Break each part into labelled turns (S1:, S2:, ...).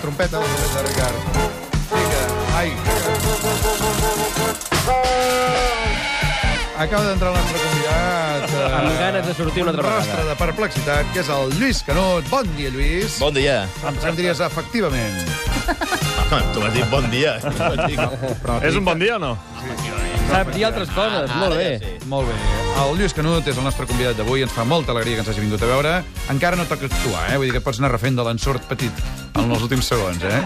S1: trompeta de, de Ricard. Vinga, ai. Acaba d'entrar un altre convidat. eh,
S2: Amb ganes de sortir una altra
S1: un
S2: vegada.
S1: rostre de perplexitat, que és el Lluís Canut. Bon dia, Lluís.
S3: Bon dia.
S1: Em, em diries efectivament.
S3: Home, Ah, tu m'has dit bon dia.
S1: Però
S4: És un bon dia o no?
S2: Sap dir altres coses, molt bé.
S3: Ja sé.
S1: Molt bé. El Lluís Canut és el nostre convidat d'avui. Ens fa molta alegria que ens hagi vingut a veure. Encara no toca actuar, eh? Vull dir que pots anar refent de l'ensort petit en els últims segons, eh?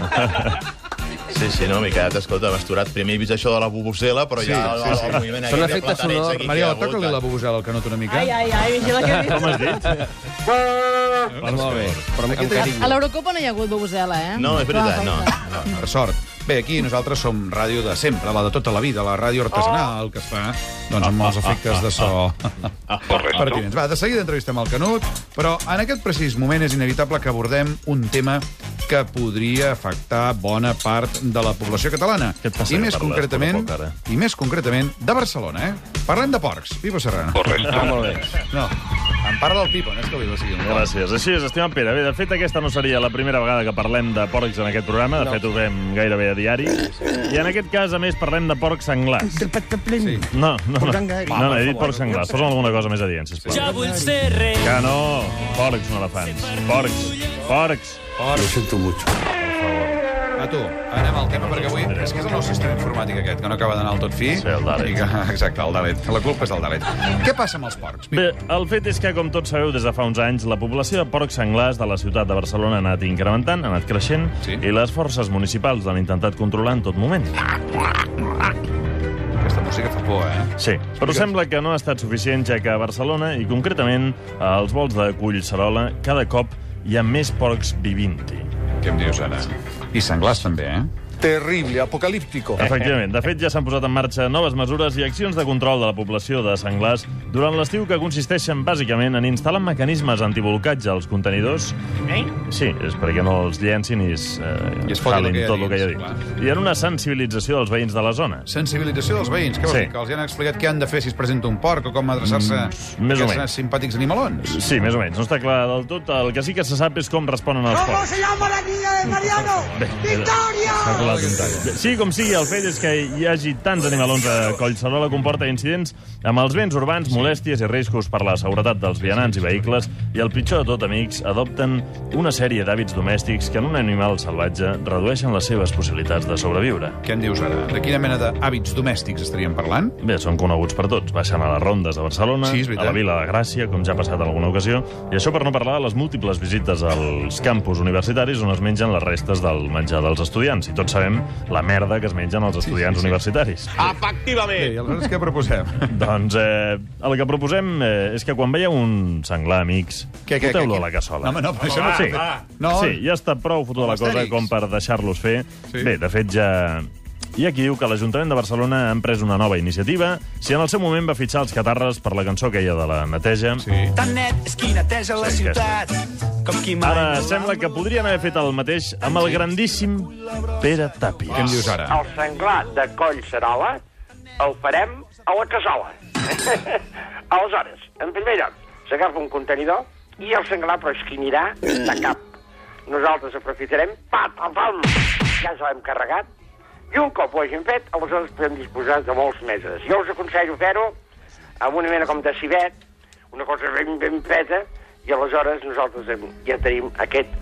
S3: Sí, sí, no, m'he quedat, escolta, masturat. Primer he vist això de la bubucela, però ja...
S1: Sí,
S3: el, el, moviment
S2: Són
S3: aquest de
S2: efectes
S3: platarets
S2: sonors.
S3: aquí que hi ha
S1: Mariola,
S3: hagut, eh.
S1: toca-li la bubusela al Canut una mica.
S5: Ai, ai, ai, vigila que...
S4: Com has dit?
S2: Molt bé, però amb
S5: A
S2: carinyo.
S5: l'Eurocopa no hi ha hagut Bobusela, eh?
S3: No, és veritat, no.
S1: Per sort. Bé, aquí nosaltres som ràdio de sempre, la de tota la vida, la ràdio artesanal,
S4: Oh.
S1: que es fa doncs, amb els efectes de so pertinents. Va, de seguida entrevistem el Canut, però en aquest precís moment és inevitable que abordem un tema que podria afectar bona part de la població catalana.
S4: Què et passa
S1: I
S4: que
S1: més
S4: parles
S1: concretament,
S4: poc a poc, ara?
S1: i més concretament de Barcelona, eh? Parlem de porcs. Pipo Serrano.
S2: Ah, molt bé.
S1: No, em parla del Pipo, no és que avui la sigui un porc.
S4: Gràcies. Així és, estimat Pere. Bé, de fet, aquesta no seria la primera vegada que parlem de porcs en aquest programa. De fet, ho fem gairebé a diari. I en aquest cas, a més, parlem de porcs senglars.
S1: Sí.
S4: No, no, no. No, no, he dit porcs senglars. Posa'm alguna cosa més adient, sisplau. Ja vull ser rei. Que no. Porcs, no elefants. Porcs. Porcs.
S1: A tu, anem al tema, perquè avui... És que és el nou sistema informàtic aquest, que no acaba d'anar al tot fi.
S4: Sí, el Dalet.
S1: I que, exacte, el Dalet. La culpa és del Dalet. Què passa amb els porcs?
S4: Bé, el fet és que, com tots sabeu, des de fa uns anys, la població de porcs senglars de la ciutat de Barcelona ha anat incrementant, ha anat creixent,
S1: Sí.
S4: sí. i les forces municipals l'han intentat controlar en tot moment.
S1: Aquesta música fa por, eh?
S4: Sí, però sembla que no ha estat suficient, ja que a Barcelona, i concretament als vols de Collserola, cada cop hi ha més porcs vivint-hi.
S1: Què em dius ara? I senglars, també, eh?
S6: Terrible, apocalíptico.
S4: Efectivament. De fet, ja s'han posat en marxa noves mesures i accions de control de la població de senglars durant l'estiu que consisteixen bàsicament en instal·lar mecanismes antibolcatge als contenidors. Sí, és perquè no els llencin i es, eh,
S1: I es fotin
S4: jalin
S1: el que hi ha
S4: tot el que hi ha
S1: dins,
S4: dins. I en una sensibilització dels veïns de la zona.
S1: Sensibilització dels veïns. Què vols
S4: Sí.
S1: dir? Que els hi han explicat què han de fer si es presenta un porc o com adreçar-se
S4: Mm, més
S1: a
S4: o menys.
S1: aquests simpàtics animalons?
S4: Sí, més o menys. No està clar del tot. El que sí que se sap és com responen els
S7: ¿Cómo
S4: porcs.
S7: se llama la niña de Mariano? ¡Victoria!
S4: Ah, Sí, com sigui, el fet és que hi hagi tants animalons a Collserola comporta incidents amb els béns urbans, molèsties i riscos per la seguretat dels vianants i vehicles i el pitjor de tot, amics, adopten una sèrie d'hàbits domèstics que en un animal salvatge redueixen les seves possibilitats de sobreviure.
S1: Què en dius ara? De quina mena d'hàbits domèstics estaríem parlant?
S4: Bé, són coneguts per tots. Baixen a les rondes de Barcelona,
S1: Sí, és veritat.
S4: a la Vila de Gràcia, com ja ha passat en alguna ocasió, i això per no parlar de les múltiples visites als campus universitaris on es mengen les restes del menjar dels estudiants. I tots sabem la merda que es mengen els
S1: sí, Ah.
S4: estudiants
S1: sí.
S4: universitaris.
S1: Bé, i aleshores què proposem?
S4: Doncs eh, el que proposem eh, és que quan veieu un senglar, amics,
S1: Què, què,
S4: foteu-lo
S1: què,
S4: a la
S1: què?
S4: cassola.
S1: No, home, no, però això no
S4: sí.
S1: es fa.
S4: No.
S1: No.
S4: sí, ja està prou fotuda la cosa
S1: Astèrix.
S4: com per deixar-los fer.
S1: Sí.
S4: Sí. Bé, de fet, ja... Hi ha qui diu que l'Ajuntament de Barcelona ha emprès una nova iniciativa. Si en el seu moment va fitxar els catarres per la cançó aquella de la neteja,
S1: Sí.
S8: Tan net és qui neteja la
S4: Sí,
S8: ciutat com qui mai...
S4: ara sembla que podrien haver fet el mateix amb el grandíssim
S1: Què
S4: Pere
S1: en
S4: Tàpies.
S1: dius ara?
S9: El senglar de Collserola el farem a la cassola. Aleshores, en primer lloc, s'agafa un contenidor i el senglar, però és que anirà de cap. Nosaltres aprofitarem, pat, pam, pam, ja ens l'hem carregat, i un cop ho hagin fet, aleshores podem disposar de molts meses. Jo us aconsello fer-ho amb una mena com de civet, una cosa ben, ben feta, i aleshores nosaltres hem- ja tenim aquest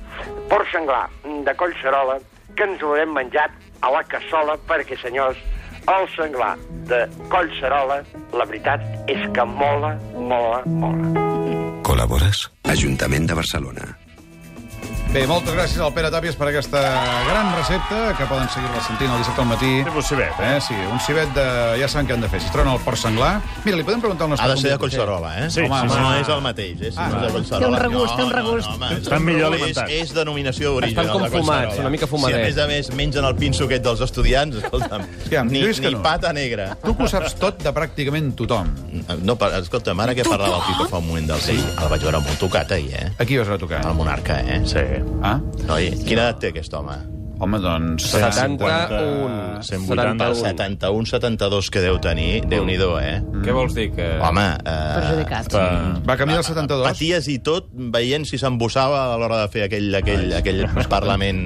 S9: porc senglar de Collserola que ens l'haurem menjat a la cassola perquè, senyors, el senglar de Collserola, la veritat és que mola, mola, mola.
S10: Col·labores? Ajuntament de Barcelona.
S1: Bé, moltes gràcies al Pere Tàpies per aquesta gran recepta, que poden seguir-la sentint el dissabte al matí.
S4: Té possiblet, eh?
S1: Eh, sí, un civet de... Ja saben què han de fer. Si troben el porc senglar... Mira, li podem preguntar al nostre...
S3: Ha de ser de
S1: convidat.
S3: Collserola, eh?
S4: Sí,
S3: home,
S4: sí,
S3: home,
S4: sí.
S3: no és el mateix, eh? Si
S1: Ah.
S3: no és de Collserola.
S5: Té un regust, té un regust.
S3: No, no, home,
S4: Estan millor
S3: és-
S4: alimentats.
S3: És, denominació original
S2: Estan com
S3: de Collserola.
S2: fumats, una mica fumadets.
S3: Si a més a més mengen el pinso aquest dels estudiants, escolta'm,
S1: Escolta'm,
S3: ni,
S1: Lluís, que
S3: ni
S1: no.
S3: pata negra.
S1: Tu que ho saps tot de pràcticament tothom.
S3: No, per, escolta'm, ara que parla del Pipo fa un moment del sí. el vaig veure molt tocat ahir, eh?
S1: Aquí vas anar a tocar.
S3: El monarca, eh?
S4: Sí.
S1: Ah?
S3: Noi, quina edat té aquest home?
S1: Home, doncs...
S2: 71.
S4: 180.
S3: 71, 72 que deu tenir, déu-n'hi-do, eh?
S6: Què vols dir? Que...
S3: Home, eh,
S5: Perjudicats.
S1: Va canviar el 72.
S3: paties i tot veient si s'embossava a l'hora de fer aquell, aquell, aquell parlament,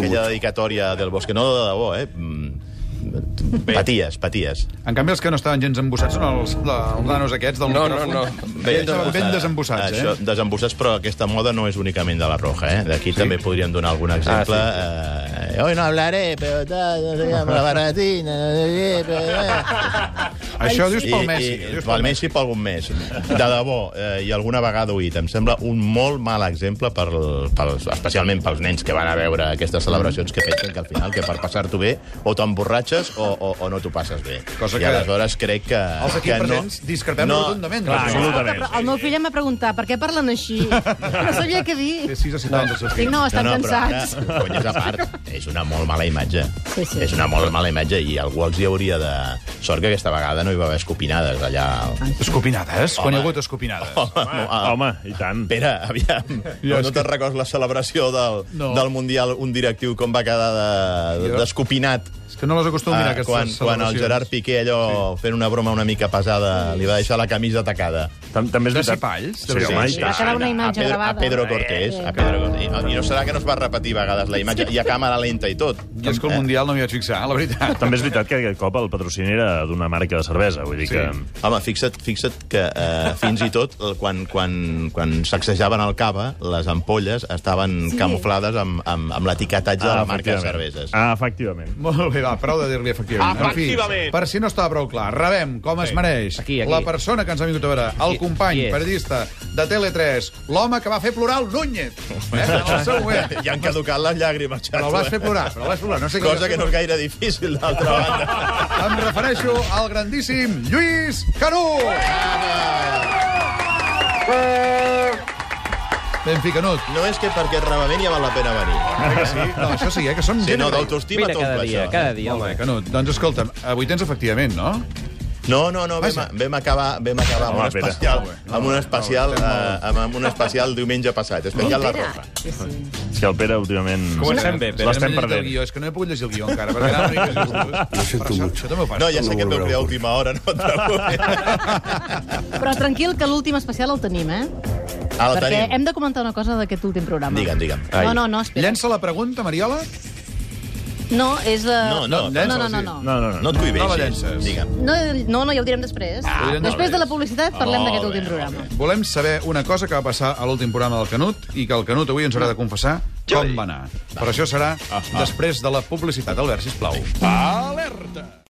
S3: aquella
S10: molt.
S3: dedicatòria del Bosque. No, de debò, eh? Mm, Paties, paties.
S1: En canvi, els que no estaven gens embossats són els, de- els nanos aquests del
S2: No, no,
S1: micròfon.
S2: no.
S1: Ells estaven ben desembossats,
S3: això,
S1: eh?
S3: Desembossats, però aquesta moda no és únicament de la Roja, eh? D'aquí sí? també podríem donar algun exemple. Ah, sí, sí. Eh, hoy no hablaré, pero tal, no sé qué, amb la barretina, no sé què, però...
S1: Això ho dius
S3: I,
S1: pel Messi. ho
S3: I,
S1: dius
S3: pel Messi pel algun més. De debò, eh, i alguna vegada ho he dit, em sembla un molt mal exemple, pel, pels, especialment pels nens que van a veure aquestes celebracions que pensen que al final, que per passar-t'ho bé, o t'emborratxes o, o, o no t'ho passes bé.
S1: Cosa
S3: I
S1: que
S3: aleshores crec que...
S1: Els aquí
S3: que
S1: presents discrepem rotundament.
S4: Clar,
S1: Perquè
S4: absolutament.
S5: El meu fill em va preguntar per què parlen així. No sabia què dir.
S1: Té 6 o 7 anys, els seus
S5: Dic,
S1: fills.
S5: no, estan
S3: però Ah,
S5: cansats.
S3: Ara, cony, és a part. És una molt mala imatge.
S5: Sí, sí.
S3: És una molt mala imatge i algú els hi hauria de... Sort que aquesta vegada no hi va haver escopinades allà. Al...
S1: Escopinades? Quan hi ha hagut escopinades?
S3: Home, no,
S4: Home, i tant.
S3: Pere, aviam, no, no te'n recordes la celebració del,
S1: No.
S3: del Mundial un directiu com va quedar de-
S1: Jo-
S3: d'escopinat de,
S1: És que no les acostumo a mirar, aquestes
S3: Ah, quan, quan el
S1: celebracions.
S3: Gerard Piqué, allò, sí. fent una broma una mica pesada, li va deixar la camisa tacada.
S4: Tam També és
S1: De
S4: veritat.
S1: cipalls?
S4: Sí, home, i
S5: Va
S4: tant.
S5: quedar una
S3: a
S5: imatge
S3: Pedro,
S5: gravada.
S3: A Pedro Cortés. A Pedro Cortés. I, no, I no serà que no es va repetir a vegades la imatge, i a càmera lenta i tot.
S1: I és que el Mundial no m'hi vaig fixar, la veritat.
S4: També és veritat que aquest cop el patrocini era d'una marca de cervesa, vull dir que...
S3: Home, fixa't, fixa't que eh, fins i tot eh, quan, quan, quan sacsejaven el cava, les ampolles estaven sí. camuflades amb, amb, amb
S1: Ah,
S3: l'etiquetatge de la marca de
S4: efectivament.
S3: cerveses.
S4: Ah, efectivament.
S1: Molt bé, va, prou de dir-li efectivament. En fi, per si no estava prou clar, rebem, com es mereix,
S2: Aquí, aquí.
S1: la persona que ens ha vingut a veure, el company,
S2: qui és?
S1: periodista de Tele3, l'home que va fer plorar el Núñez, eh, en el seu moment.
S3: Ja han caducat les llàgrimes, xato.
S1: Però el vas fer plorar, però el vas plorar. No sé què
S3: Cosa
S1: vas
S3: que
S1: fer
S3: no és gaire difícil, d'altra banda.
S1: plorar. Em refereixo al grandíssim Lluís Canut! Ben fi, Canut.
S3: No és que perquè rebament ja val la pena venir.
S1: No, això sí, eh, que som
S3: Si
S1: gent...
S3: no, d'autoestima
S2: Vine
S3: tot
S2: cada dia,
S3: això.
S2: cada dia, home.
S1: Canut, doncs escolta'm, avui tens efectivament, no?
S3: No, no, no, vam,
S1: Vaja.
S3: vam acabar, vam acabar amb,
S4: Home,
S3: un
S4: Pere.
S3: especial, amb un especial,
S1: estem
S3: eh, amb, amb un especial diumenge passat, especial La Roja.
S5: Sí, sí.
S4: És que el Pere últimament...
S6: Comencem bé, Pere.
S4: L'estem
S1: Hem llegit El
S4: perdent.
S1: guió. És que no he pogut llegir el guió encara, perquè ara no
S10: Ho
S1: Això,
S10: sento mucho.
S1: això també ho fas.
S3: No, ja sé
S10: No
S3: que et veu
S10: veureu,
S3: crear a
S10: por
S3: última hora, no et preocupis.
S5: Però tranquil, que l'últim especial el tenim, eh?
S3: Ara el
S5: Perquè
S3: tenim.
S5: hem de comentar una cosa d'aquest últim programa.
S3: Digue'm, digue'm.
S5: No, no, no, espera.
S1: Llença la pregunta, Mariola.
S5: No, és... Uh...
S3: No, no,
S5: no, no,
S1: llença-la,
S5: no,
S1: sí.
S5: no.
S4: No, no, no.
S3: No et cohibeixis.
S1: No la llences.
S3: Digue'm.
S5: No, no, no, ja ho direm després.
S1: ho direm
S5: després
S1: després.
S5: de la publicitat parlem
S3: Ah, Molt
S5: d'aquest
S3: bé,
S5: últim
S3: molt
S5: programa.
S1: Volem saber una cosa que va passar a l'últim programa del Canut i que el Canut avui ens haurà de confessar com va anar. Però això serà després de la publicitat. Albert, sisplau.